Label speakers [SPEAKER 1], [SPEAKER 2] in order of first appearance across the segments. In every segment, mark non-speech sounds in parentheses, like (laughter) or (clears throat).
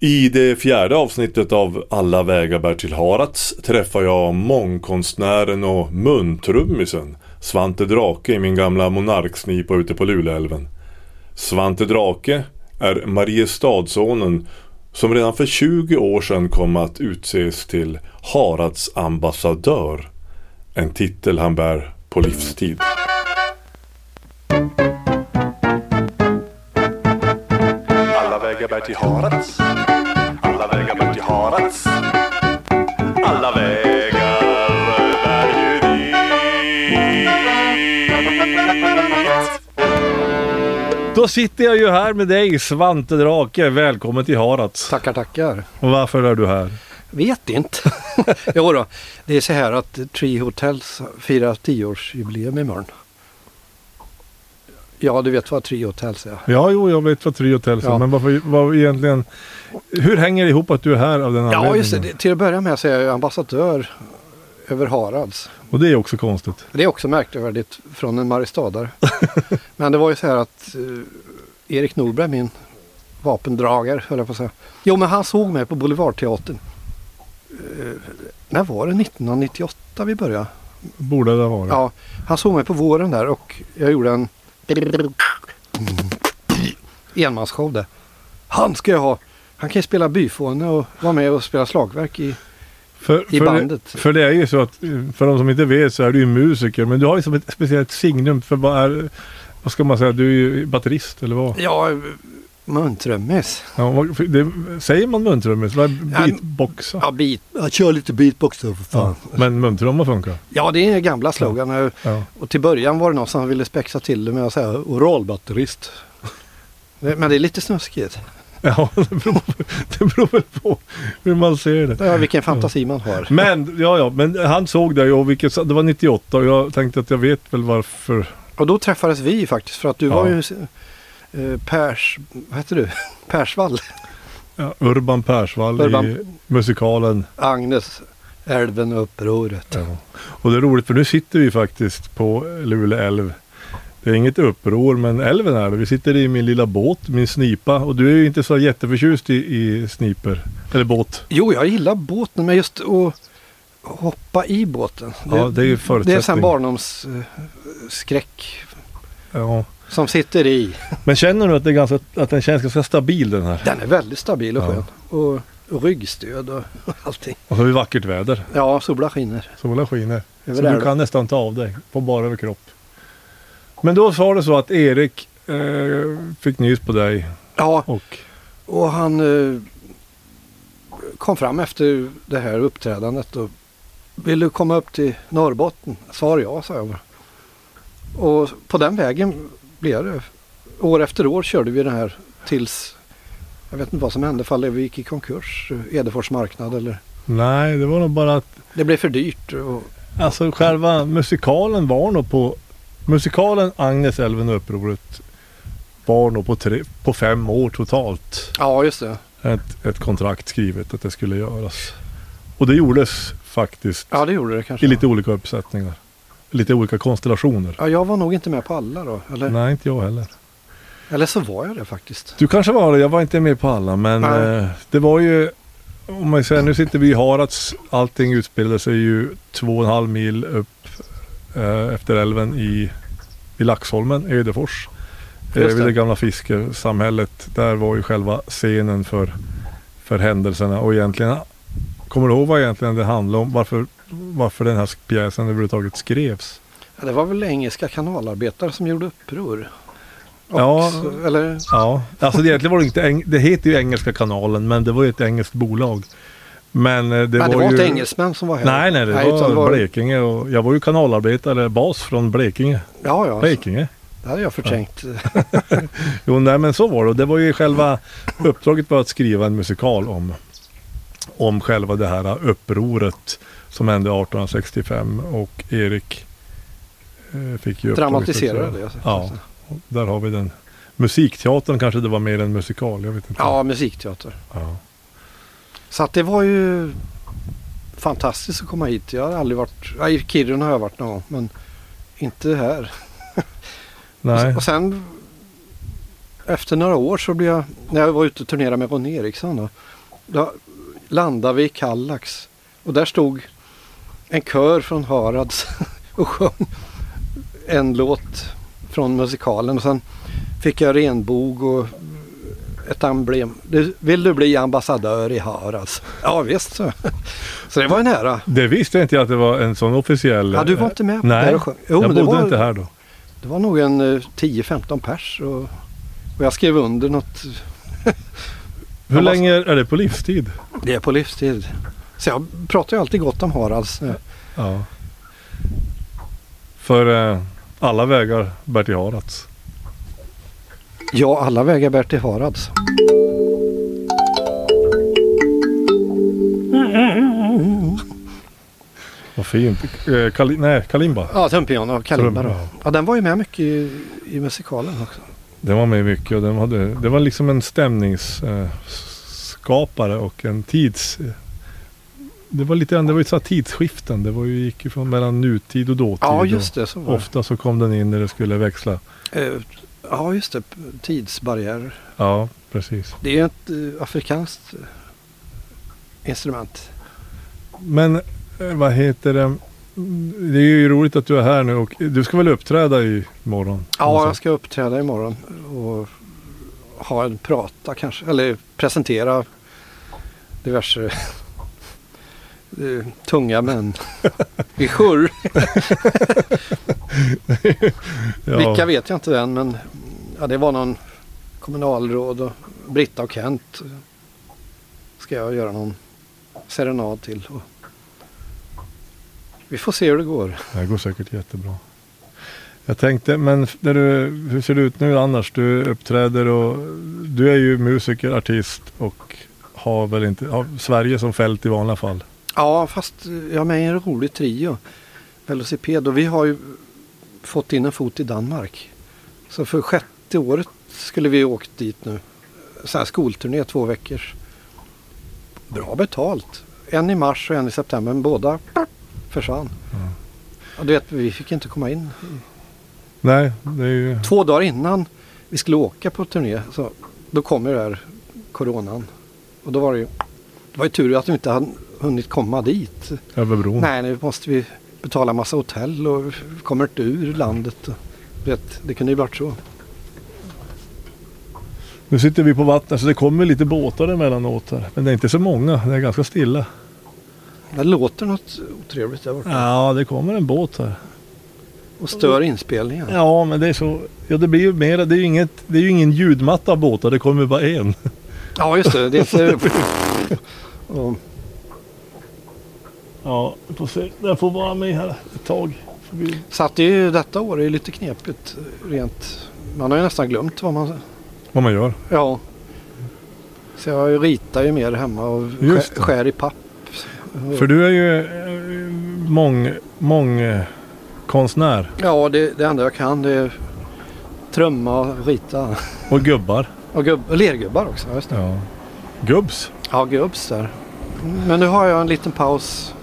[SPEAKER 1] I det fjärde avsnittet av Alla vägar bär till Harats träffar jag mångkonstnären och muntrummisen Svante Drake i min gamla monarksnipa ute på Luleälven. Svante Drake är Mariestadsonen som redan för 20 år sedan kom att utses till Harads ambassadör. En titel han bär på livstid.
[SPEAKER 2] Alla vägar bär till Harads. Alla vägar bär till Harads. Alla vägar bär ju dit.
[SPEAKER 3] Då sitter jag ju här med dig Svante Drake. Välkommen till Harats.
[SPEAKER 4] Tackar, tackar.
[SPEAKER 3] Och varför är du här?
[SPEAKER 4] Vet (laughs) inte. jo då, det är så här att Tree Hotels firar 10-årsjubileum imorgon. Ja, du vet vad Tree Hotels är?
[SPEAKER 3] Ja, jo, jag vet vad Trio Hotels är,
[SPEAKER 4] Ja.
[SPEAKER 3] men varför, vad egentligen... Hur hänger det ihop att du är här av den anledningen?
[SPEAKER 4] Ja, just det. Till att börja med så är jag ju ambassadör över Harads.
[SPEAKER 3] Och det är också konstigt.
[SPEAKER 4] Det är också märkvärdigt från en (laughs) maristadare. Men det var ju så här att eh, Erik Norberg, min vapendragare, höll jag på att säga. Jo, men han såg mig på Boulevardteatern. Eh, när var det? 1998 vi började?
[SPEAKER 3] Borde det ha varit.
[SPEAKER 4] Ja, han såg mig på våren där och jag gjorde en enmansshow där. Han ska jag ha! Han kan ju spela byfåne och vara med och spela slagverk i...
[SPEAKER 3] för,
[SPEAKER 4] i
[SPEAKER 3] för
[SPEAKER 4] bandet.
[SPEAKER 3] Det, för det är ju så att, eh, för de som inte vet så är du ju musiker, men du har ju som ett speciellt signum för vad är... Vad ska man säga? Du är ju baterist eller vad?
[SPEAKER 4] Ja, muntrummis.
[SPEAKER 3] Ja, vad- för det, säger man muntrummis? Vad är
[SPEAKER 4] Ja,
[SPEAKER 3] Beatboxa?
[SPEAKER 4] Ja, beat. Jag kör lite beatbox då för
[SPEAKER 3] Ja, men muntrumma funkar. (laughs)
[SPEAKER 4] Ja, det är den gamla slogan. Eh,
[SPEAKER 3] Ja.
[SPEAKER 4] Och till början var det någon som ville spexa till det med att säga (laughs) oralbatterist. Men det är lite snuskigt.
[SPEAKER 3] Ja, det beror, det beror väl på hur man ser det.
[SPEAKER 4] Ja, vilken fantasi man har.
[SPEAKER 3] Men, ja, ja, men han såg det och vilket, det var 98 och jag tänkte att jag vet väl varför.
[SPEAKER 4] Och då träffades vi faktiskt för att du
[SPEAKER 3] Ja.
[SPEAKER 4] var ju eh, Pers, vad heter du? (laughs) Persvall,
[SPEAKER 3] Ja, Urban Persvall i
[SPEAKER 4] Urban.
[SPEAKER 3] musikalen.
[SPEAKER 4] Agnes, Älven och upproret.
[SPEAKER 3] Ja. Och det är roligt för nu sitter vi faktiskt på Luleå älv. Det är inget uppror men älven är det. Vi sitter i min lilla båt, min snipa. Och du är ju inte så jätteförtjust i, i sniper. Eller båt.
[SPEAKER 4] Jo, jag gillar båten men just att hoppa i båten.
[SPEAKER 3] Ja, det är ju
[SPEAKER 4] det
[SPEAKER 3] förutsättning.
[SPEAKER 4] är sån barndomsskräck
[SPEAKER 3] ja.
[SPEAKER 4] som sitter i.
[SPEAKER 3] Men känner du att, det är ganska, att den känns ganska stabil den här?
[SPEAKER 4] Den är väldigt stabil och
[SPEAKER 3] Ja.
[SPEAKER 4] skön. Och, och ryggstöd och, (laughs) och allting.
[SPEAKER 3] Och så är det vackert väder.
[SPEAKER 4] Ja, solen skiner.
[SPEAKER 3] Solen skiner.
[SPEAKER 4] Över
[SPEAKER 3] så du
[SPEAKER 4] älven.
[SPEAKER 3] kan nästan ta av dig på bara överkropp. Men då sa det så att Erik eh, fick nys på dig
[SPEAKER 4] Ja,
[SPEAKER 3] och...
[SPEAKER 4] Och han eh, kom fram efter det här uppträdandet och vill du komma upp till Norrbotten? Svar ja, sa jag. Och på den vägen blev det. År efter år körde vi den här tills jag vet inte vad som hände, ifall vi gick i konkurs, eh, Edefors marknad eller
[SPEAKER 3] Nej, det var nog bara att...
[SPEAKER 4] det blev för dyrt. Och,
[SPEAKER 3] Alltså själva musikalen var nog på... Musikalen Agnes, Älven och Upproret var nog på, tre, på fem år totalt.
[SPEAKER 4] ja, just det.
[SPEAKER 3] Ett, ett kontrakt skrivet att det skulle göras. Och det gjordes faktiskt
[SPEAKER 4] Ja, det gjorde det
[SPEAKER 3] i
[SPEAKER 4] kanske.
[SPEAKER 3] lite olika uppsättningar. Lite olika konstellationer.
[SPEAKER 4] Ja, jag var nog inte med på alla då. Eller,
[SPEAKER 3] Nej, inte jag heller.
[SPEAKER 4] eller så var jag det faktiskt.
[SPEAKER 3] Du kanske var det, jag var inte med på alla men
[SPEAKER 4] Nej.
[SPEAKER 3] eh, det var ju om man säger, nu sitter vi i Harads, allting utspelade sig ju två och en halv mil upp eh, efter älven i, i Laxholmen, Ödefors. Eh,
[SPEAKER 4] Just
[SPEAKER 3] vid det
[SPEAKER 4] det.
[SPEAKER 3] gamla fiskesamhället. Där var ju själva scenen för, för händelserna och egentligen, kommer du ihåg vad egentligen det handlade om? Varför, varför den här pjäsen överhuvudtaget skrevs?
[SPEAKER 4] Ja, det var väl engelska kanalarbetare som gjorde uppror. Och,
[SPEAKER 3] Ja.
[SPEAKER 4] så- eller
[SPEAKER 3] Ja, alltså det egentligen var det inte, eng- det heter ju Engelska kanalen men det var ju ett engelskt bolag. Men eh, det,
[SPEAKER 4] Det,
[SPEAKER 3] var,
[SPEAKER 4] Nej, det var
[SPEAKER 3] ju...
[SPEAKER 4] inte engelsmän som var här.
[SPEAKER 3] Nej, nej, det
[SPEAKER 4] utan
[SPEAKER 3] var, Blekinge och jag var ju kanalarbetare, bas från Blekinge.
[SPEAKER 4] Ja, ja,
[SPEAKER 3] Blekinge.
[SPEAKER 4] det hade jag förträngt. eh,
[SPEAKER 3] Jo, nej men så var det och det var ju själva uppdraget var att skriva en musikal om, om själva det här upproret som hände 1865 och Erik eh, fick ju uppdraget att
[SPEAKER 4] Dramatisera
[SPEAKER 3] göra-
[SPEAKER 4] det. alltså.
[SPEAKER 3] Ja, och där har vi den. Musikteatern kanske det var mer en musikal, jag vet inte.
[SPEAKER 4] ja, musikteater.
[SPEAKER 3] ja.
[SPEAKER 4] Så att det var ju fantastiskt att komma hit. Jag har aldrig varit, ja, i Kiruna har jag varit någon gång, men inte här.
[SPEAKER 3] Nej.
[SPEAKER 4] Och sen efter några år så blev jag, när jag var ute och turnerade med Ronny Eriksson då, då landade vi i Kallax och där stod en kör från Harads (laughs) och sjöng en låt från musikalen och sen fick jag renbog och ett emblem. Du, vill du bli ambassadör i Harads? Ja visst, så. (laughs) så det var en ära.
[SPEAKER 3] Det visste jag inte att det var en sån officiell...
[SPEAKER 4] Ja, du var inte med på det
[SPEAKER 3] Nej,
[SPEAKER 4] här och sjöng. Jo,
[SPEAKER 3] jag
[SPEAKER 4] men det
[SPEAKER 3] bodde
[SPEAKER 4] var-
[SPEAKER 3] inte här då.
[SPEAKER 4] Det var nog en eh, 10-15 pers och, och jag skrev under något.
[SPEAKER 3] Hur
[SPEAKER 4] Jag var-
[SPEAKER 3] länge är det på livstid?
[SPEAKER 4] Det är på livstid. Så jag pratar ju alltid gott om Harads. eh.
[SPEAKER 3] Ja. För eh, alla vägar bär till Harads.
[SPEAKER 4] Ja, alla vägar bär till Harads.
[SPEAKER 3] Vad fint. Eh, Kali- nej, Kalimba.
[SPEAKER 4] Ja, trumpion och kalimba då.
[SPEAKER 3] Trumma.
[SPEAKER 4] Ja, den var ju med mycket i, i musikalen också.
[SPEAKER 3] Den var med mycket och den hade, det var liksom en stämningsskapare och en tids... eh, Det var lite grann- det var ju så här tidsskiften. Det var ju, gick ju från mellan nutid och dåtid.
[SPEAKER 4] Ja, just det. Så
[SPEAKER 3] Och
[SPEAKER 4] var
[SPEAKER 3] ofta så kom den in när det skulle växla.
[SPEAKER 4] det. Eh, Ja, just det. Tidsbarriärer.
[SPEAKER 3] Ja, precis.
[SPEAKER 4] Det är ju ett eh, afrikanskt eh, instrument.
[SPEAKER 3] Men eh, vad heter det? Mm, Det är ju roligt att du är här nu och du ska väl uppträda i morgon? Alltså.
[SPEAKER 4] Ja, jag ska uppträda imorgon och ha en prata kanske, eller presentera diverse (laughs) eh, tunga män i jour.
[SPEAKER 3] ja.
[SPEAKER 4] Vilka vet jag inte än, men ja, det var någon kommunalråd och Britta och Kent ska jag göra någon serenad till. Och vi får se hur det går.
[SPEAKER 3] Det här går säkert jättebra. Jag tänkte, men f- när du, hur ser det ut nu annars? Du uppträder och du är ju musiker, artist och har väl inte har Sverige som fält i vanliga fall.
[SPEAKER 4] Ja, fast jag är med i en rolig trio. Velociped och vi har ju fått in en fot i Danmark. Så för sjätte året skulle vi åkt dit nu. Så här skolturné, två veckor. Bra betalt. En i mars och en i september, men båda försvann. Och du vet, vi fick inte komma in.
[SPEAKER 3] Nej, det är ju...
[SPEAKER 4] Två dagar innan vi skulle åka på turné, så då kom ju det här coronan. Och då var det ju, det var ju tur att vi inte hade hunnit komma dit.
[SPEAKER 3] Över bron.
[SPEAKER 4] Nej, nu måste vi betala massa hotell och vi kommer inte ur landet. Du Vet, det kunde ju varit så.
[SPEAKER 3] Nu sitter vi på vattnet så det kommer lite båtar emellanåt här. Men det är inte så många, det är ganska stilla.
[SPEAKER 4] Det låter något otrevligt där borta
[SPEAKER 3] Ja, det kommer en båt här.
[SPEAKER 4] och stör inspelningen.
[SPEAKER 3] Ja, men det är så... Ja, det blir ju mera... Det är ju, inget, det är ju ingen ljudmatta av båtar, det kommer bara en.
[SPEAKER 4] Ja, just det. Det är inte... (laughs) och,
[SPEAKER 3] Ja, vi får se. Den får vara med här ett tag. Får vi-
[SPEAKER 4] så att det är ju, detta år är lite knepigt rent. Man har ju nästan glömt vad man...
[SPEAKER 3] Vad man gör.
[SPEAKER 4] Ja. Så jag ritar ju mer hemma och
[SPEAKER 3] Just
[SPEAKER 4] skär,
[SPEAKER 3] det.
[SPEAKER 4] skär i papp.
[SPEAKER 3] För du är ju eh, mång, mång eh, konstnär
[SPEAKER 4] Ja, det, det enda jag kan det är trumma och rita.
[SPEAKER 3] och gubbar.
[SPEAKER 4] Och, gubb, och lergubbar också. Just det.
[SPEAKER 3] Ja. Gubbs.
[SPEAKER 4] Ja, gubbs där. Men nu har jag en liten paus.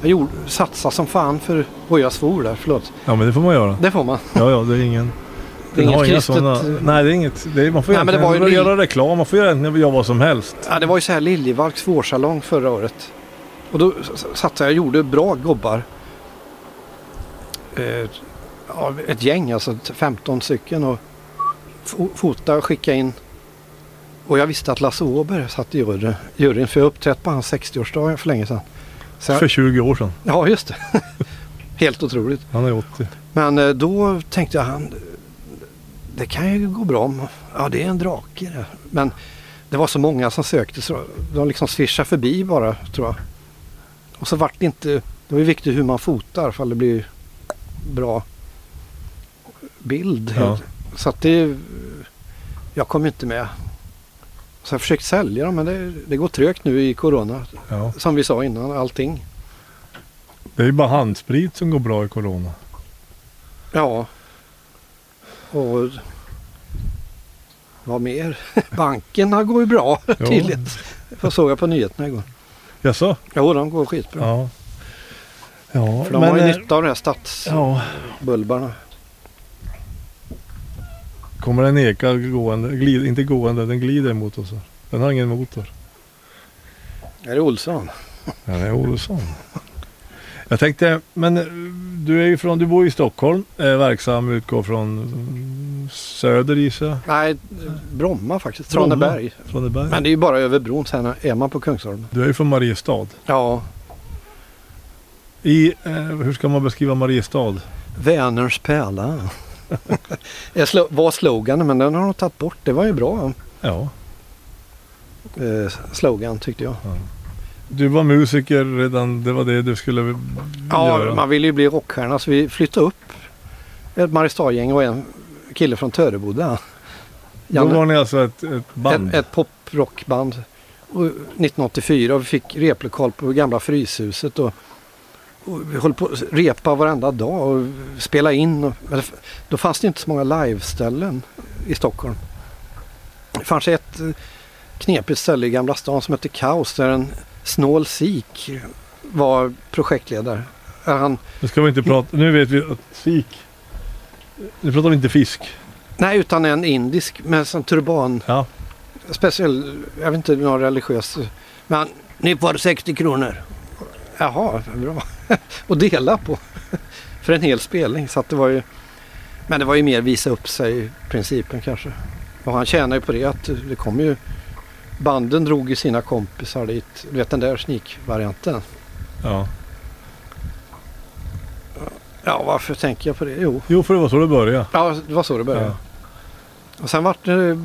[SPEAKER 4] Jag gjorde, satsade som fan för... Oj, jag svor där. Förlåt.
[SPEAKER 3] Ja, men det får man göra.
[SPEAKER 4] Det får man.
[SPEAKER 3] Ja, ja, det är ingen...
[SPEAKER 4] Det är
[SPEAKER 3] den
[SPEAKER 4] inget
[SPEAKER 3] har inga
[SPEAKER 4] kristet,
[SPEAKER 3] såna-
[SPEAKER 4] eh,
[SPEAKER 3] Nej, det är inget. Det är, man får
[SPEAKER 4] Nej, men det
[SPEAKER 3] egentligen
[SPEAKER 4] var ju
[SPEAKER 3] göra reklam. Man får göra egentligen göra vad som helst.
[SPEAKER 4] Ja, det var ju så här Liljevalchs vårsalong förra året. Och då s- satsade jag och gjorde bra gubbar. Eh, ja, ett gäng, alltså t- 15 stycken. Och fo- fota och skicka in. Och jag visste att Lasse Åberg satt i jury- juryn. För jag har uppträtt på hans 60-årsdag för länge sedan. Så
[SPEAKER 3] För
[SPEAKER 4] jag,
[SPEAKER 3] 20 år sedan.
[SPEAKER 4] ja, just det. (laughs) Helt otroligt.
[SPEAKER 3] Han är 80.
[SPEAKER 4] Men eh, då tänkte jag, han, det kan ju gå bra om, ja det är en drake det. Men det var så många som sökte så de liksom swishade förbi bara tror jag. Och så vart det inte, det var ju viktigt hur man fotar för det blir bra bild.
[SPEAKER 3] Ja.
[SPEAKER 4] Så att det, jag kom inte med. Så jag försökte sälja dem men det, det går trögt nu i corona.
[SPEAKER 3] Ja.
[SPEAKER 4] Som vi sa innan, allting.
[SPEAKER 3] Det är ju bara handsprit som går bra i corona.
[SPEAKER 4] Ja. Och vad mer? (laughs) Bankerna går ju bra
[SPEAKER 3] Jo.
[SPEAKER 4] tydligt. Jag såg jag på nyheterna igår.
[SPEAKER 3] Jaså?
[SPEAKER 4] Jo, de går skitbra.
[SPEAKER 3] Ja. Ja,
[SPEAKER 4] För de har ju
[SPEAKER 3] eh,
[SPEAKER 4] nytta av de här
[SPEAKER 3] Ja,
[SPEAKER 4] stadsbulbarna.
[SPEAKER 3] Kommer den eka gående, glid, inte gående, den glider mot oss. här. Den har ingen motor.
[SPEAKER 4] Är det Olsson?
[SPEAKER 3] Den är Olsson. Jag tänkte, men eh, du är ju från, du bor i Stockholm, är verksam, utgår från mm, söder gissar jag.
[SPEAKER 4] Nej, Bromma faktiskt. Traneberg.
[SPEAKER 3] Traneberg.
[SPEAKER 4] Men det är ju bara över bron sen är man på Kungsholmen.
[SPEAKER 3] Du är ju från Mariestad.
[SPEAKER 4] Ja,
[SPEAKER 3] I, eh, hur ska man beskriva Mariestad?
[SPEAKER 4] Vänerns (laughs) pärla. Det slo- var sloganen, men den har de tagit bort. Det var ju bra
[SPEAKER 3] Ja.
[SPEAKER 4] eh, slogan tyckte jag.
[SPEAKER 3] Du var musiker redan, det var det du skulle
[SPEAKER 4] Ja,
[SPEAKER 3] göra.
[SPEAKER 4] man ville ju bli rockstjärna så vi flyttade upp ett Mariestadgäng och en kille från Töreboda.
[SPEAKER 3] Då
[SPEAKER 4] Janne-
[SPEAKER 3] var ni alltså ett, ett band?
[SPEAKER 4] Ett, ett poprockband. Och 1984 och vi fick replokal på gamla Fryshuset. Och, och vi höll på att repa varenda dag och spela in. Och, men det, f- då fanns det inte så många liveställen i Stockholm. Det fanns ett eh, knepigt ställe i Gamla stan som hette Kaos där en snål sik var projektledare. Där Han,
[SPEAKER 3] Nu ska vi inte prata, nu vet vi att sik. Nu pratar vi inte fisk.
[SPEAKER 4] nej, utan en indisk med en sån turban.
[SPEAKER 3] Ja.
[SPEAKER 4] speciell, jag vet inte, någon religiös. Men ni får 60 kronor. Jaha, bra. (laughs) Och dela på. (laughs) För en hel spelning. Så att det var ju, men det var ju mer visa upp sig principen kanske. Och han tjänar ju på det att det kom ju, banden drog ju sina kompisar dit. Du vet den där sneak-varianten.
[SPEAKER 3] ja.
[SPEAKER 4] Ja, varför tänker jag på det? Jo,
[SPEAKER 3] Jo, för det var så det började.
[SPEAKER 4] ja, det var så det började.
[SPEAKER 3] Ja.
[SPEAKER 4] Och sen vart det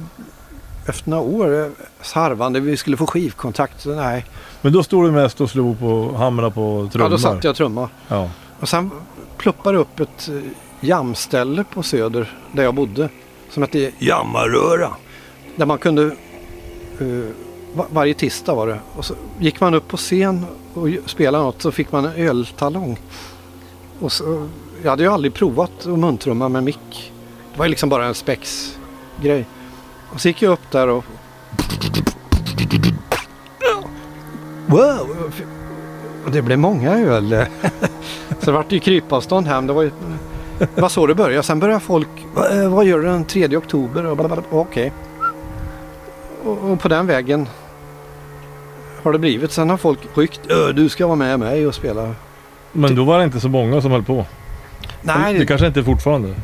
[SPEAKER 4] efter några år sarvande. Vi skulle få skivkontakt. Så Nej,
[SPEAKER 3] Men då stod du mest och slog på, hamrade på trummor.
[SPEAKER 4] ja, då satt jag trumma.
[SPEAKER 3] Ja.
[SPEAKER 4] Och sen pluppade det upp ett eh, jamställe på Söder där jag bodde som hette Jammaröra. Där man kunde, eh, va- varje tisdag var det, och så gick man upp på scen och ju- spelade något så fick man en öltalong. Och så, jag hade ju aldrig provat att muntrumma med mick. Det var ju liksom bara en spexgrej. Och så gick jag upp där och... Wow! Och Det blev många öl. Så det vart ju krypavstånd hem. Det var, ju, det var så det började. Sen började folk, "Va- eh, vad gör du den 3 oktober? Och blablabla. Okej. Och, och på den vägen har det blivit. Sen har folk ryckt, "Ö, du ska vara med mig och spela.
[SPEAKER 3] Men då var det inte så många som höll på.
[SPEAKER 4] Nej,
[SPEAKER 3] Det kanske inte är fortfarande.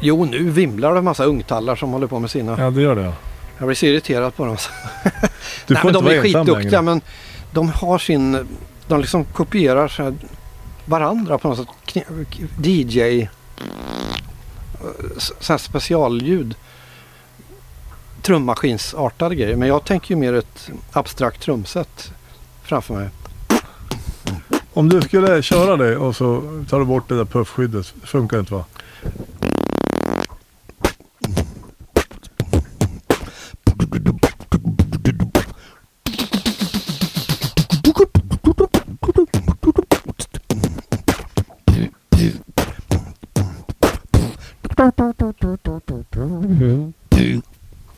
[SPEAKER 4] jo nu vimlar det en massa ungtallar som håller på med sina.
[SPEAKER 3] Ja, det gör det. ja.
[SPEAKER 4] Jag blir så irriterad på dem.
[SPEAKER 3] Du
[SPEAKER 4] Nej, men
[SPEAKER 3] får inte
[SPEAKER 4] de
[SPEAKER 3] vara
[SPEAKER 4] är
[SPEAKER 3] ensam
[SPEAKER 4] skitduktiga
[SPEAKER 3] längre.
[SPEAKER 4] men de har sin, de liksom kopierar så här varandra på något sätt. Kne- DJ, eh, så så här specialljud. Trummaskinsartade grejer. Men jag tänker ju mer ett abstrakt trumset framför mig.
[SPEAKER 3] Om du skulle köra det och så tar du bort det där puffskyddet. Funkar inte va?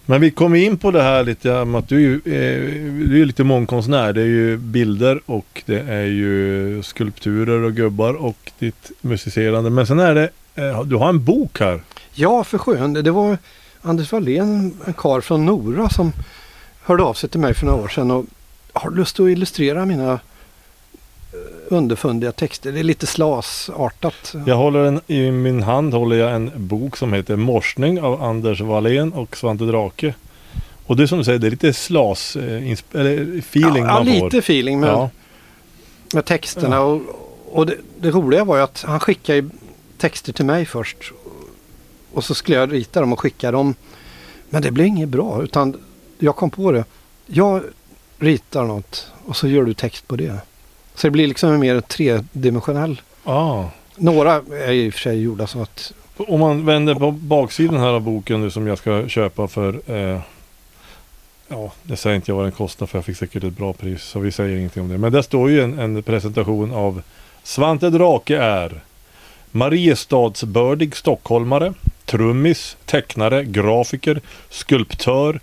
[SPEAKER 3] Men vi kom in på det här lite om att du är ju, eh, du är ju lite mångkonstnär. Det är ju bilder och det är ju skulpturer och gubbar och ditt musicerande. Men sen är det, eh, du har en bok här.
[SPEAKER 4] Ja, för sjön. Det var Anders Wallén, en karl från Nora som hörde av sig till mig för några år sedan och har du lust att illustrera mina eh, underfundiga texter. Det är lite slasartat.
[SPEAKER 3] Jag håller en, i min hand håller jag en bok som heter Morsning av Anders Wallén och Svante Drake. Och det är som du säger, det är lite slas, eh, insp- eller feeling
[SPEAKER 4] ja,
[SPEAKER 3] man
[SPEAKER 4] ja,
[SPEAKER 3] får.
[SPEAKER 4] lite feeling med,
[SPEAKER 3] Ja,
[SPEAKER 4] med texterna. Och, och det, det roliga var ju att han skickade ju texter till mig först. Och så skulle jag rita dem och skicka dem. Men det blev inget bra utan jag kom på det. Jag ritar något och så gör du text på det. Så det blir liksom mer tredimensionell.
[SPEAKER 3] ja.
[SPEAKER 4] Några är ju i och för sig gjorda som att
[SPEAKER 3] Ah. Om man vänder på baksidan här av boken nu som jag ska köpa för eh, Ja, det säger inte jag vad den kostar för jag fick säkert ett bra pris så vi säger ingenting om det. Men där står ju en, en presentation av Svante Drake är Mariestadsbördig stockholmare, trummis, tecknare, grafiker, skulptör,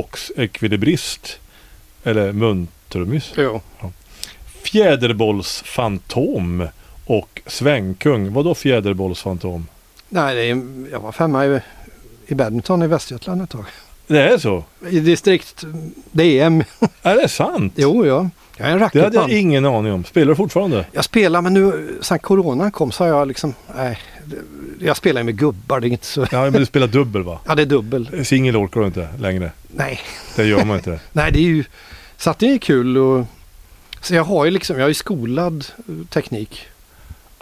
[SPEAKER 3] beatbox-ekvilibrist eller muntrummis.
[SPEAKER 4] jo.
[SPEAKER 3] Fjäderbollsfantom och svängkung. Vadå fjäderbollsfantom?
[SPEAKER 4] Nej, det är, jag var femma i i badminton i Västgötland ett tag.
[SPEAKER 3] Det är så?
[SPEAKER 4] I distrikt DM.
[SPEAKER 3] Är det sant?
[SPEAKER 4] Jo, ja. Jag är en
[SPEAKER 3] Det hade jag
[SPEAKER 4] racketman. Jag,
[SPEAKER 3] ingen aning om. Spelar du fortfarande?
[SPEAKER 4] spelar men nu sen coronan kom så har jag liksom, nej. det- Jag spelar ju med gubbar, det är inte så.
[SPEAKER 3] Ja, men du spelar dubbel va?
[SPEAKER 4] Ja, det är dubbel.
[SPEAKER 3] Singel orkar du inte längre.
[SPEAKER 4] Nej,
[SPEAKER 3] Det gör man inte.
[SPEAKER 4] nej det är ju, så att det är kul och så jag har ju liksom, jag är ju skolad eh, teknik.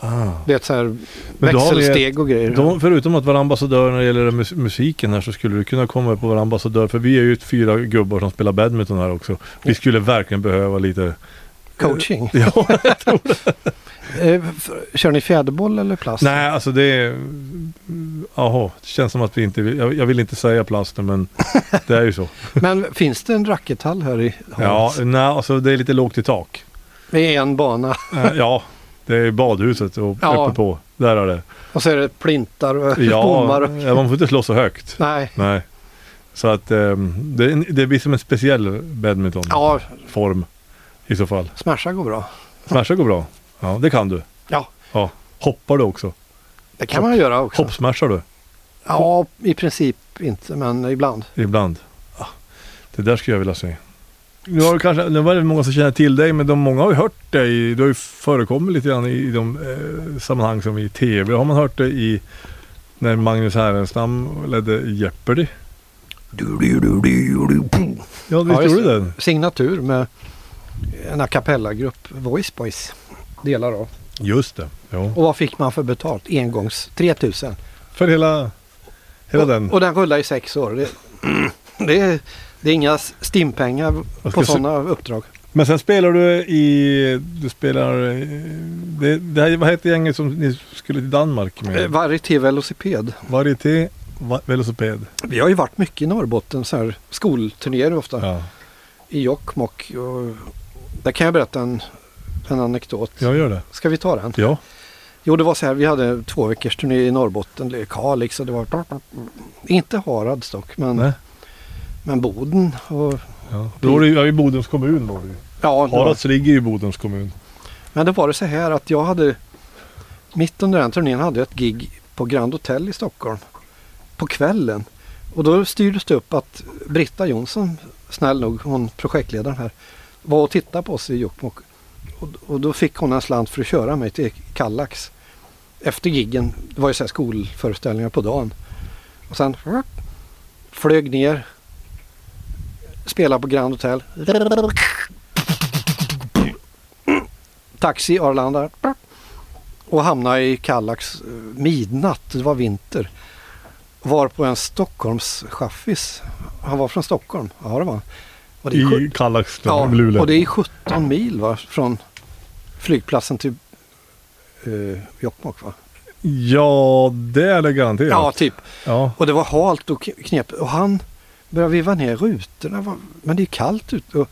[SPEAKER 3] Ah.
[SPEAKER 4] Det är så här
[SPEAKER 3] Men då har vi-
[SPEAKER 4] växelsteg och grejer.
[SPEAKER 3] De, förutom att vara ambassadör när det gäller mus- musiken här så skulle du kunna komma upp och vara ambassadör. För vi är ju ett fyra gubbar som spelar badminton här också. Vi skulle verkligen behöva lite...
[SPEAKER 4] Coaching.
[SPEAKER 3] Ja,
[SPEAKER 4] (laughs) Eh, för- Kör ni fjäderboll eller plast?
[SPEAKER 3] nej, alltså det är... Jaha, det känns som att vi inte vill... Jag, jag vill inte säga plasten (laughs) men det är ju så.
[SPEAKER 4] Men finns det en rackethall här i
[SPEAKER 3] Ja,
[SPEAKER 4] Hans?
[SPEAKER 3] nej, alltså det är lite lågt i tak.
[SPEAKER 4] Med en bana
[SPEAKER 3] Eh, Ja, det är badhuset och
[SPEAKER 4] Ja.
[SPEAKER 3] uppe på. Där är det.
[SPEAKER 4] och så är det plintar och (laughs) bommar.
[SPEAKER 3] Ja,
[SPEAKER 4] Och...
[SPEAKER 3] ja, man får inte slå så högt.
[SPEAKER 4] Nej,
[SPEAKER 3] Nej. Så att ehm, det, det blir som en speciell badmintonform
[SPEAKER 4] ja,
[SPEAKER 3] i så fall.
[SPEAKER 4] smasha går bra.
[SPEAKER 3] Smasha går bra. Ja, det kan du.
[SPEAKER 4] Ja,
[SPEAKER 3] Ja. Hoppar du också?
[SPEAKER 4] det kan man göra också.
[SPEAKER 3] Hoppsmashar du
[SPEAKER 4] Ja, i princip inte, men ibland.
[SPEAKER 3] ibland? Ah, Det där skulle jag vilja se. Nu, har du kanske, nu var det många som känner till dig, men de många har ju hört dig. Du har ju förekommit lite grann i, i de eh, sammanhang som i tv. Har man hört dig i när Magnus Härenstam ledde Jeopardy? Ja, visst
[SPEAKER 4] Ja, just
[SPEAKER 3] gjorde du den?
[SPEAKER 4] Signatur med en a cappella-grupp, Voice Boys, delar av.
[SPEAKER 3] Just det. Ja.
[SPEAKER 4] Och vad fick man för betalt? Engångs 3000.
[SPEAKER 3] För hela, hela den.
[SPEAKER 4] Och, och den rullar i sex år. Det, (clears throat) det, är, det är inga stimpengar
[SPEAKER 3] Jag ska
[SPEAKER 4] på
[SPEAKER 3] se-
[SPEAKER 4] sådana uppdrag.
[SPEAKER 3] Men sen spelar du i... Du spelar... eh, Det, det här, vad heter gänget som ni skulle till Danmark
[SPEAKER 4] Eh,
[SPEAKER 3] med?
[SPEAKER 4] Varieté velociped.
[SPEAKER 3] Varieté va, Velociped.
[SPEAKER 4] Vi har ju varit mycket i Norrbotten, så här skolturnéer ofta.
[SPEAKER 3] Ja.
[SPEAKER 4] I Jokkmokk. Och där kan jag berätta en, en anekdot.
[SPEAKER 3] Jag gör det.
[SPEAKER 4] Ska vi ta den?
[SPEAKER 3] Ja.
[SPEAKER 4] Jo, det var så här, vi hade två veckors turné i Norrbotten, det är Kalix och det var inte Harads dock, men,
[SPEAKER 3] Nej.
[SPEAKER 4] men Boden. Och,
[SPEAKER 3] Ja. Då var det ju ja, i Bodens kommun. Var det. ju.
[SPEAKER 4] ja, det var-
[SPEAKER 3] Harads ligger ju i Bodens kommun.
[SPEAKER 4] Men då var det så här att jag hade, mitt under den turnén hade jag ett gig på Grand Hotel i Stockholm på kvällen. Och då styrdes det upp att Britta Jonsson, snäll nog, hon projektledaren här, var och tittade på oss i Jokkmokk. Och, och då fick hon en slant för att köra mig till Kallax. Efter giggen, det var ju så här skolföreställningar på dagen. Och sen flög ner, spelade på Grand Hotel. taxi Arlanda och hamnade i Kallax eh, midnatt, det var vinter. Var på en Stockholms chaffis. Han var från Stockholm, ja det var han. Och det är sjukt.
[SPEAKER 3] I Kallax,
[SPEAKER 4] Ja,
[SPEAKER 3] ja, Luleå.
[SPEAKER 4] och det är 17 mil va, från flygplatsen till eh, Jokkmokk va?
[SPEAKER 3] Ja, det är det garanterat.
[SPEAKER 4] Ja, typ.
[SPEAKER 3] Ja.
[SPEAKER 4] Och det var halt och knep. Och han började veva ner rutorna. va, Men det är kallt ute. Och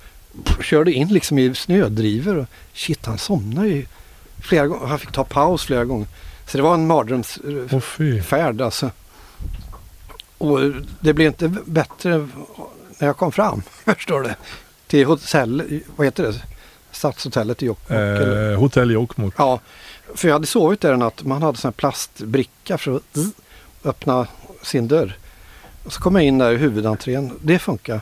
[SPEAKER 4] körde in liksom i snödrivor. Och shit, han somnade ju flera gånger. Han fick ta paus flera gånger. Så det var en eh, mardrömsfärd
[SPEAKER 3] Åh fy.
[SPEAKER 4] alltså. Och det blev inte bättre när jag kom fram, (laughs) förstår du. Till hotell, vad heter det? Stadshotellet i Jokkmokk. eller-
[SPEAKER 3] Eh, hotell Jokkmokk.
[SPEAKER 4] Ja, för jag hade sovit där en natt. Man hade sån här plastbricka för att öppna sin dörr. Och så kom jag in där i huvudentrén. Det funkar.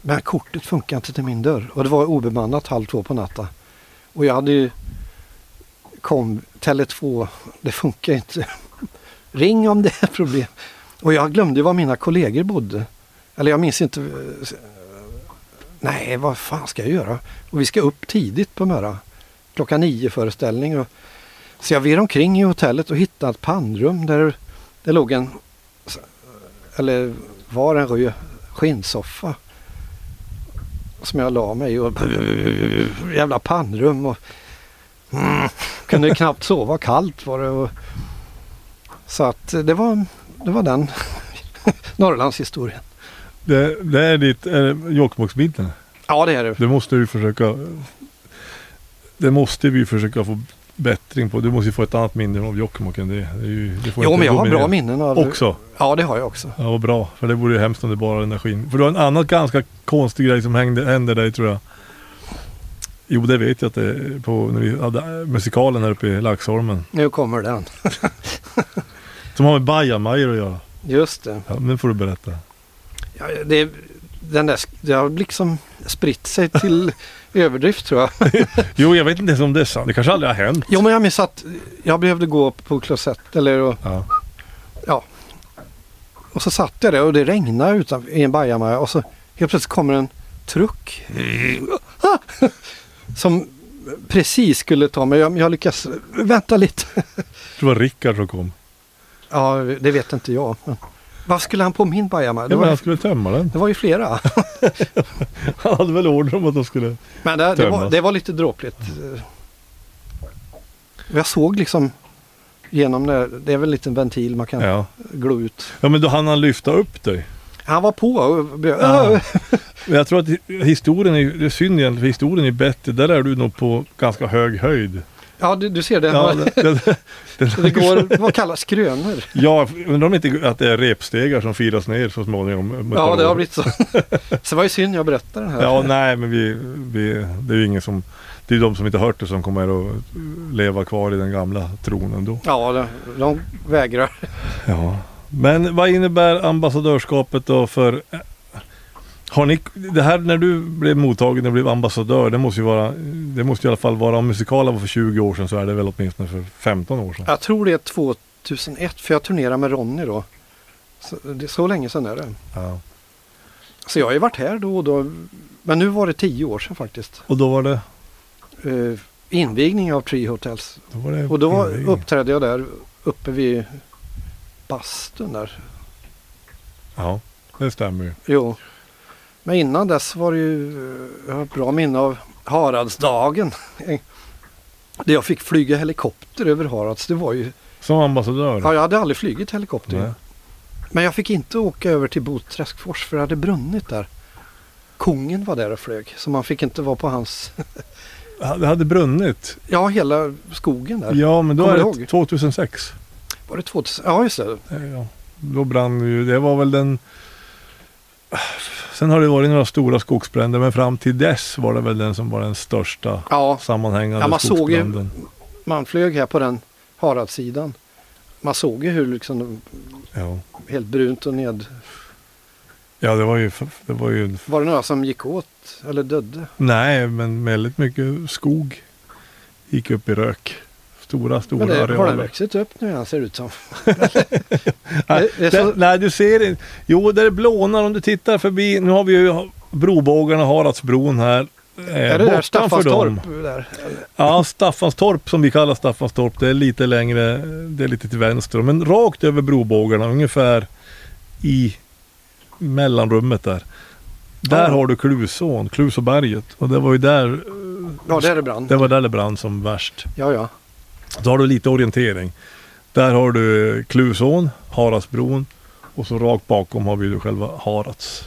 [SPEAKER 4] Men kortet funkar inte till min dörr. Och det var obemannat halv två på natten. Och jag hade ju kom Tele2. Det funkar inte. (laughs) Ring om det är problem. Och jag glömde ju var mina kollegor bodde. Eller jag minns inte. eh, Nej, vad fan ska jag göra? Och vi ska upp tidigt på Möra klockan nio föreställning. Och, så jag virrade omkring i hotellet och hittade ett pannrum där det låg en, eller var en röd skinnsoffa. Som jag la mig i och (laughs) jävla pannrum och mm, kunde knappt sova, kallt var det. Och, så att eh, det var, det var den (laughs) Norrlandshistorien.
[SPEAKER 3] Det, det är ditt eh, Jokkmokksbilden.
[SPEAKER 4] Ja det är det.
[SPEAKER 3] Det måste vi försöka... Det måste vi försöka få bättring på. Du måste ju få ett annat minne av Jokkmokk än det. det, är ju, det får
[SPEAKER 4] Jo
[SPEAKER 3] inte
[SPEAKER 4] men jag har
[SPEAKER 3] dominera.
[SPEAKER 4] bra minnen av
[SPEAKER 3] Också.
[SPEAKER 4] Ja det har jag också.
[SPEAKER 3] Ja, vad bra. För det vore ju hemskt om det bara var energin. För du har en annan ganska konstig grej som hängde, hände dig tror jag. Jo, det vet jag att det är på när vi hade eh, musikalen här uppe i Laxholmen.
[SPEAKER 4] Nu kommer den.
[SPEAKER 3] Som har med bajamajor att göra.
[SPEAKER 4] Just det.
[SPEAKER 3] Ja, men får du berätta.
[SPEAKER 4] Ja, det, den där, sk- det har liksom spritt sig (laughs) till överdrift tror jag.
[SPEAKER 3] Jo, jag vet inte ens om det är sant. Det kanske aldrig har hänt.
[SPEAKER 4] Jo, men jag minns att jag behövde gå på klosett eller och,
[SPEAKER 3] Ja.
[SPEAKER 4] och så satt jag där och det regnade utan, i en bajamaja och så helt plötsligt kommer en truck. (laughs) Ah! Som precis skulle ta mig. Jag, jag lyckas vänta lite.
[SPEAKER 3] Jag tror det var Rickard som kom.
[SPEAKER 4] Ja, det vet inte jag. Men vad skulle han på min bajamaja? Det,
[SPEAKER 3] Ja, men
[SPEAKER 4] var-
[SPEAKER 3] han skulle tömma den.
[SPEAKER 4] det var ju flera.
[SPEAKER 3] Han hade väl order om att de skulle...
[SPEAKER 4] Men det, det, var,
[SPEAKER 3] Tömmas.
[SPEAKER 4] det var lite dråpligt. Jag såg liksom genom det. Det är väl en liten ventil man kan
[SPEAKER 3] Ja.
[SPEAKER 4] glo ut.
[SPEAKER 3] ja, men då hann han lyfta upp dig.
[SPEAKER 4] Han var på. och blev-
[SPEAKER 3] Ja. Men jag tror att hi- historien är, ju- det är synd egentligen, för historien är bättre. Där är du nog på ganska hög höjd.
[SPEAKER 4] Ja, du, du ser det.
[SPEAKER 3] Ja, det, det,
[SPEAKER 4] det går vad kallas skrönor.
[SPEAKER 3] Ja, undrar om inte att det är repstegar som filas ner så småningom. om ett par
[SPEAKER 4] Ja, det
[SPEAKER 3] år.
[SPEAKER 4] har blivit så. (laughs) Så det var ju synd jag berättade den här.
[SPEAKER 3] Ja, nej, men vi, vi, det är ju ingen som... Det är ju de som inte hört det som kommer att leva kvar i den gamla tron ändå.
[SPEAKER 4] ja de, de vägrar.
[SPEAKER 3] Ja. Men vad innebär ambassadörskapet då för... Har ni, det här när du blev mottagen och blev ambassadör, det måste ju vara, det måste i alla fall vara, om musikalen var för 20 år sedan så är det väl åtminstone för 15 år sedan.
[SPEAKER 4] Jag tror det är 2001, för jag turnerade med Ronny då. Så, det är så länge sedan är det.
[SPEAKER 3] Ja.
[SPEAKER 4] Så jag har ju varit här då och då. Men nu var det tio år sedan faktiskt.
[SPEAKER 3] Och då var det...
[SPEAKER 4] Eh, invigning av Tree Hotels.
[SPEAKER 3] Då var det
[SPEAKER 4] Och då
[SPEAKER 3] invigning.
[SPEAKER 4] uppträdde jag där uppe vid bastun där.
[SPEAKER 3] Ja, det stämmer ju.
[SPEAKER 4] Jo. Men innan dess var det ju, jag har ett bra minne av Haradsdagen. (laughs) Där jag fick flyga helikopter över Harads. Det var ju,
[SPEAKER 3] Som ambassadör.
[SPEAKER 4] ja, jag hade aldrig flugit helikopter.
[SPEAKER 3] Nej.
[SPEAKER 4] Men jag fick inte åka över till Boträskfors för det hade brunnit där. Kungen var där och flög så man fick inte vara på hans, (laughs)
[SPEAKER 3] Det hade brunnit.
[SPEAKER 4] ja hela skogen där.
[SPEAKER 3] Ja, men då
[SPEAKER 4] Kommer
[SPEAKER 3] är
[SPEAKER 4] du
[SPEAKER 3] det
[SPEAKER 4] ihåg?
[SPEAKER 3] 2006.
[SPEAKER 4] Var det 2000? Ja just det.
[SPEAKER 3] Ja, då brann ju, det var väl den... Sen har det varit några stora skogsbränder, men fram till dess var det väl den som var den största
[SPEAKER 4] Ja,
[SPEAKER 3] sammanhängande
[SPEAKER 4] Ja, man såg ju-
[SPEAKER 3] skogsbranden.
[SPEAKER 4] man flög här på den Haradssidan. Man såg ju hur liksom det
[SPEAKER 3] Ja.
[SPEAKER 4] var helt brunt och ned.
[SPEAKER 3] ja, det var ju... Det var ju
[SPEAKER 4] Var det några som gick åt eller dödde?
[SPEAKER 3] nej, men väldigt mycket skog gick upp i rök. Stora, stora
[SPEAKER 4] Men det, har den
[SPEAKER 3] arealer.
[SPEAKER 4] vuxit upp nu igen ser det ut (laughs) som.
[SPEAKER 3] Nej,
[SPEAKER 4] Det- det är så-
[SPEAKER 3] där- nej, du ser inte. Jo, där det blånar om du tittar förbi. Nu har vi ju brobågarna, Haradsbron här. eh,
[SPEAKER 4] är det där Staffanstorp? Där?
[SPEAKER 3] Ja, Staffanstorp som vi kallar Staffanstorp, det är lite längre, det är lite till vänster. Men rakt över brobågarna, ungefär i mellanrummet där. Där
[SPEAKER 4] Ja.
[SPEAKER 3] har du Klusån, Klusoberget. Och det var ju där,
[SPEAKER 4] Ja, där är det brann.
[SPEAKER 3] det var där det brann som värst.
[SPEAKER 4] Ja, ja.
[SPEAKER 3] Så har du lite orientering. Där har du Klusån, Haradsbron och så rakt bakom har vi ju själva Harads.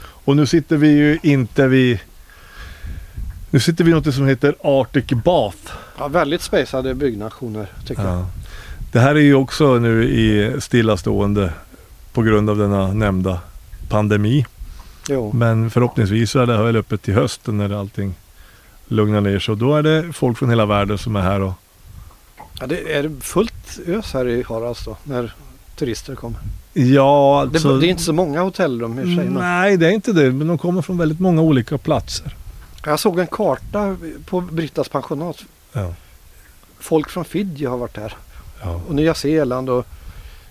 [SPEAKER 3] Och nu sitter vi ju inte vid... Nu sitter vi i något som heter Arctic Bath.
[SPEAKER 4] ja väldigt spejsade byggnationer tycker jag.
[SPEAKER 3] Ja. Det här är ju också nu i stillastående på grund av denna nämnda pandemi.
[SPEAKER 4] Jo.
[SPEAKER 3] Men förhoppningsvis så är det här väl öppet till hösten när allting lugnar ner sig. Och då är det folk från hela världen som är här och
[SPEAKER 4] Ja, det är fullt ös här i Harads då när turister kommer.
[SPEAKER 3] Ja,
[SPEAKER 4] Det,
[SPEAKER 3] alltså...
[SPEAKER 4] det är inte så många hotellrum i och för sig. Men
[SPEAKER 3] Nej, det är inte det. Men de kommer från väldigt många olika platser.
[SPEAKER 4] jag såg en karta på Brittas pensionat.
[SPEAKER 3] Ja.
[SPEAKER 4] Folk från Fidji har varit här.
[SPEAKER 3] Ja.
[SPEAKER 4] Och Nya Zeeland och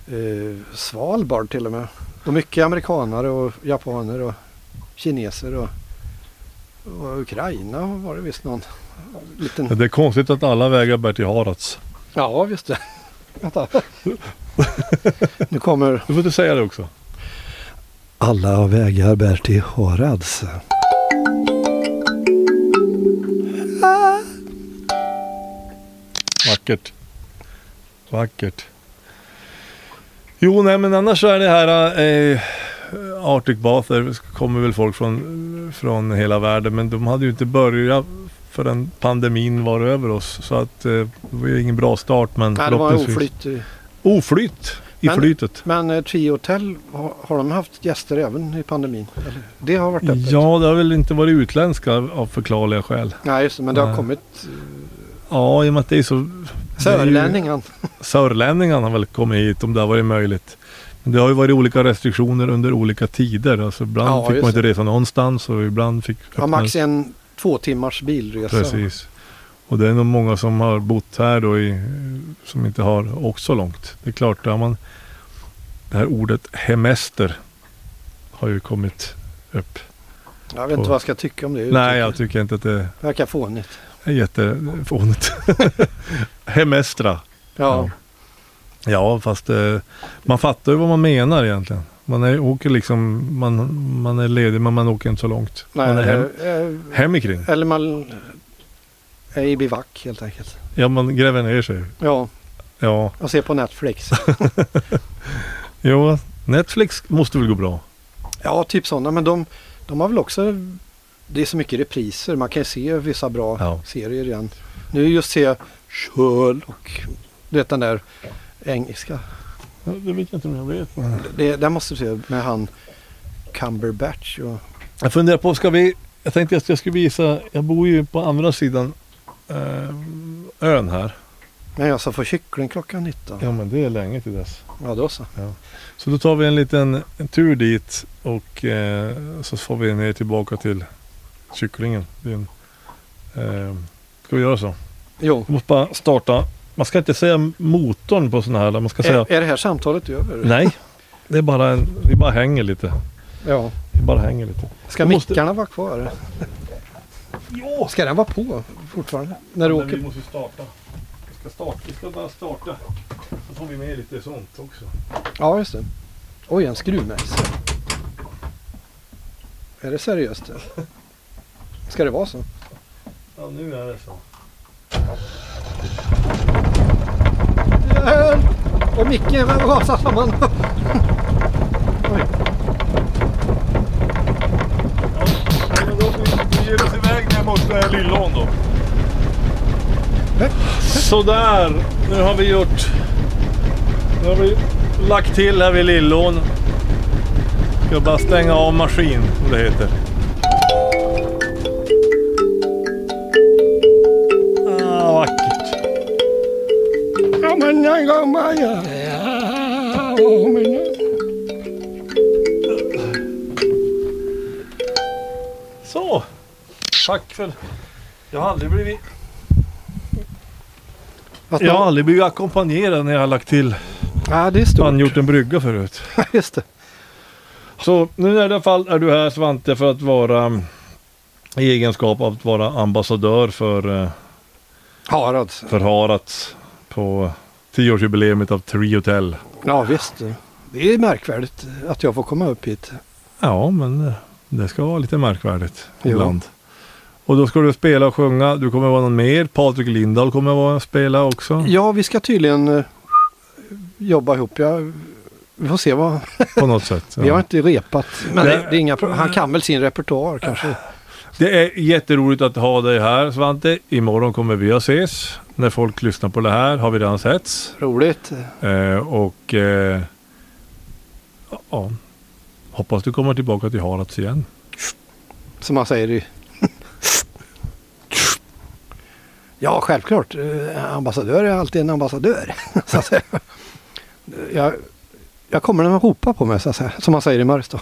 [SPEAKER 4] eh, Svalbard till och med. Och mycket amerikanare och japaner och kineser och, och Ukraina var det visst någon (laughs) liten...
[SPEAKER 3] Det är konstigt att alla vägar bär till Harads.
[SPEAKER 4] Ja, visst det. Vänta. (laughs) Nu kommer...
[SPEAKER 3] Du får inte säga det också.
[SPEAKER 4] Alla vägar bär till Harads.
[SPEAKER 3] Vackert. Vackert. Jo, nej men annars så är det här eh, Arctic Bath, där kommer väl folk från, från hela världen. Men de hade ju inte börjat förrän pandemin var över oss. Så att eh, det var ju ingen bra start. Men
[SPEAKER 4] Nej, det var en
[SPEAKER 3] förhoppningsvis-
[SPEAKER 4] oflytt. i-
[SPEAKER 3] Oflytt i
[SPEAKER 4] Men-
[SPEAKER 3] flytet.
[SPEAKER 4] Men eh, Trio Hotel, har, har de haft gäster även i pandemin? Eller? Det har varit öppet?
[SPEAKER 3] Ja, det har väl inte varit utländska av förklarliga skäl.
[SPEAKER 4] Nej, just det, men det har
[SPEAKER 3] Nej.
[SPEAKER 4] kommit
[SPEAKER 3] Ja, i och med att det är så... det är ju-
[SPEAKER 4] Sörlänningen.
[SPEAKER 3] Sörlänningarna har väl kommit hit om det har varit möjligt. Det har ju varit olika restriktioner under olika tider. Alltså ibland
[SPEAKER 4] Ja,
[SPEAKER 3] fick
[SPEAKER 4] just
[SPEAKER 3] man inte resa någonstans och ibland fick
[SPEAKER 4] Ja, max en två timmars bilresa.
[SPEAKER 3] Precis. Och det är nog många som har bott här då i, som inte har åkt så långt. Det är klart, där man, det här ordet hemester har ju kommit upp.
[SPEAKER 4] Jag vet inte vad jag ska tycka om det.
[SPEAKER 3] Nej, jag
[SPEAKER 4] uttrycket.
[SPEAKER 3] tycker inte att det
[SPEAKER 4] Verkar fånigt.
[SPEAKER 3] är jättefånigt. (laughs) Hemestra.
[SPEAKER 4] Ja,
[SPEAKER 3] Ja, fast eh, man fattar ju vad man menar egentligen. Man är, åker liksom, man, man är ledig men man åker inte så långt. man är
[SPEAKER 4] Nej,
[SPEAKER 3] hem,
[SPEAKER 4] eh,
[SPEAKER 3] hemikring.
[SPEAKER 4] eller man är i bivack helt enkelt.
[SPEAKER 3] Ja, man gräver ner sig.
[SPEAKER 4] Ja,
[SPEAKER 3] Ja,
[SPEAKER 4] och ser på
[SPEAKER 3] (laughs)
[SPEAKER 4] Netflix.
[SPEAKER 3] jo, Netflix måste väl gå bra.
[SPEAKER 4] Ja, typ sådana. Men de, de har väl också... Det är så mycket repriser. Man kan ju se vissa bra
[SPEAKER 3] Ja.
[SPEAKER 4] serier igen. Nu just ser jag Sherlock. Du vet den där engelska.
[SPEAKER 3] Det vet jag inte om jag vet.
[SPEAKER 4] Det, den måste du se med han Cumberbatch. Och,
[SPEAKER 3] Jag funderar på, ska vi... Jag tänkte att jag skulle visa, jag bor ju på andra sidan eh, ön här.
[SPEAKER 4] men jag ska få kyckling klockan 19. Ja,
[SPEAKER 3] Ja men det är länge till dess.
[SPEAKER 4] då så.
[SPEAKER 3] Så då tar vi en liten en tur dit och eh, så får vi ner tillbaka till kycklingen. Din, eh, ska vi göra så?
[SPEAKER 4] Jo.
[SPEAKER 3] Jag måste bara starta. Man ska inte säga motorn på sådana här, man ska säga
[SPEAKER 4] Är, är det här samtalet över?
[SPEAKER 3] nej. Det är bara en, vi bara hänger lite.
[SPEAKER 4] Ja.
[SPEAKER 3] Vi bara hänger lite.
[SPEAKER 4] Ska
[SPEAKER 3] Vi måste-
[SPEAKER 4] mickarna vara kvar?
[SPEAKER 3] Ja,
[SPEAKER 4] Ska den vara på fortfarande? När du
[SPEAKER 3] Men
[SPEAKER 4] åker?
[SPEAKER 3] vi måste starta. Vi ska, starta. vi ska bara starta. Så får vi med lite sånt också.
[SPEAKER 4] Ja, just det. Oj, en skruvmejsel. Är det seriöst? det? Ska det vara så? (laughs)
[SPEAKER 3] Ja, nu är det så.
[SPEAKER 4] Hjälp! Och micken rasar samman. (laughs) Oj.
[SPEAKER 3] Ja, men då vi ger oss iväg ner mot eh, Lillån då. Sådär, nu har vi gjort... Nu har vi lagt till här vid Lillån. Ska bara stänga av maskin, som det heter. Ah, vackert.
[SPEAKER 4] Ja, men en gång var jag... Ja, och men-
[SPEAKER 3] Så! Tack för... Jag har aldrig blivit...
[SPEAKER 4] Vad
[SPEAKER 3] Jag har
[SPEAKER 4] ja.
[SPEAKER 3] aldrig blivit ackompanjerad när jag har lagt till
[SPEAKER 4] ja, det är stort.
[SPEAKER 3] man gjort en brygga förut.
[SPEAKER 4] (laughs) Just det.
[SPEAKER 3] Så nu i alla fall är du här Svante för att vara mm, i egenskap av att vara ambassadör för, eh,
[SPEAKER 4] Harald.
[SPEAKER 3] för Harats på 10-årsjubileet av Tree Hotel.
[SPEAKER 4] Ja, visst. Det är märkvärdigt att jag får komma upp hit.
[SPEAKER 3] Ja, men eh, det ska vara lite märkvärdigt
[SPEAKER 4] Jo.
[SPEAKER 3] ibland. Och då ska du spela och sjunga. Du kommer vara någon mer. Patrik Lindahl kommer vara spela också
[SPEAKER 4] Ja, vi ska tydligen eh, jobba ihop. Jag, vi får se vad...
[SPEAKER 3] på något sätt.
[SPEAKER 4] Vi har
[SPEAKER 3] Ja.
[SPEAKER 4] inte repat. Men
[SPEAKER 3] Nej.
[SPEAKER 4] det, det är inga pro- Han kan väl sin repertoar kanske.
[SPEAKER 3] Det är jätteroligt att ha dig här Svante. Imorgon kommer vi att ses. När folk lyssnar på det här har vi redan setts.
[SPEAKER 4] Roligt.
[SPEAKER 3] Eh, och eh, ja, hoppas du kommer tillbaka till Harads igen.
[SPEAKER 4] Som man säger i... (laughs) Ja, självklart. Eh, Ambassadör är alltid en ambassadör. (laughs) Så att säga. Jag, jag kommer när man ropar på mig, så att säga. som man säger i Mariestad.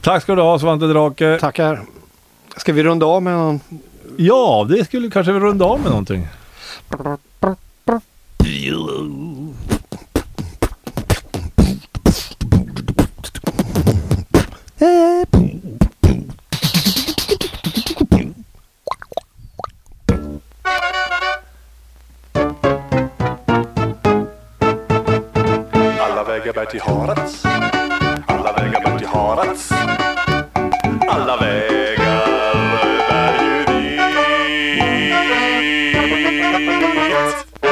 [SPEAKER 3] Tack ska du ha Svante Drake.
[SPEAKER 4] Tackar. Ska vi runda av med någon?
[SPEAKER 3] Ja, det skulle kanske vi runda av med någonting.
[SPEAKER 2] Alla vägar bär till Harads. Alla vägar bär till Harads. Alla vägar bär ju dit.